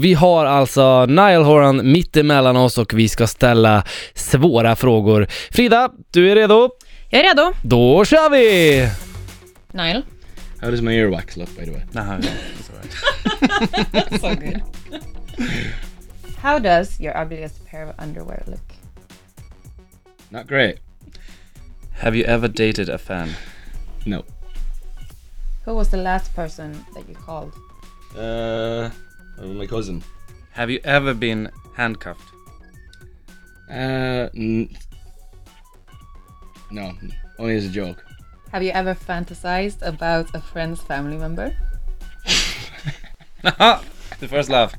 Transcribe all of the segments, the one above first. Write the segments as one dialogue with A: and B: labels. A: Vi har alltså Niall Horan mitt emellan oss och vi ska ställa svåra frågor. Frida, du är redo?
B: Jag är redo.
A: Då kör vi!
B: Niall.
C: How does my earwax look, by the way?
D: No, it's alright.
B: So good. How does your ugliest pair of underwear look?
C: Not great.
D: Have you ever dated a fan?
C: No.
B: Who was the last person that you called?
C: Uh, my cousin.
D: Have you ever been handcuffed?
C: Uh, n- no. Only as a joke.
B: Have you ever fantasized about a friend's family member?
D: the first laugh.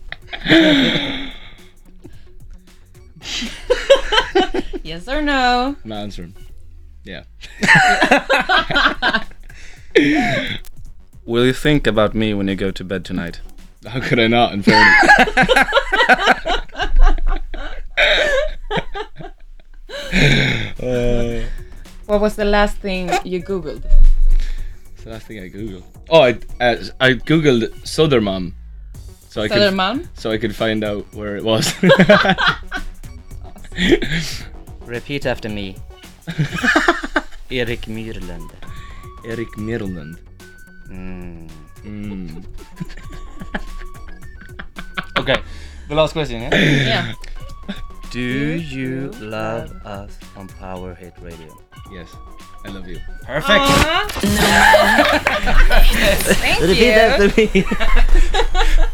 B: Yes or no?
C: I'm not answering. Yeah.
D: Will you think about me when you go to bed tonight?
C: How could I not? In fairness. uh,
B: What was the last thing you googled?
C: it's the last thing I googled. Oh, I uh, I googled Sothermam, so I could
B: Södermalm?
C: so I could find out where it was.
E: Repeat after me. Erik Myrländer.
C: Eric Mirland.
E: Mm.
C: Mm.
E: Okay, the last question, yeah?
B: Yeah.
E: Do you love us on Power Hit Radio?
C: Yes, I love you.
E: Perfect!
B: Thank
E: Repeat after me!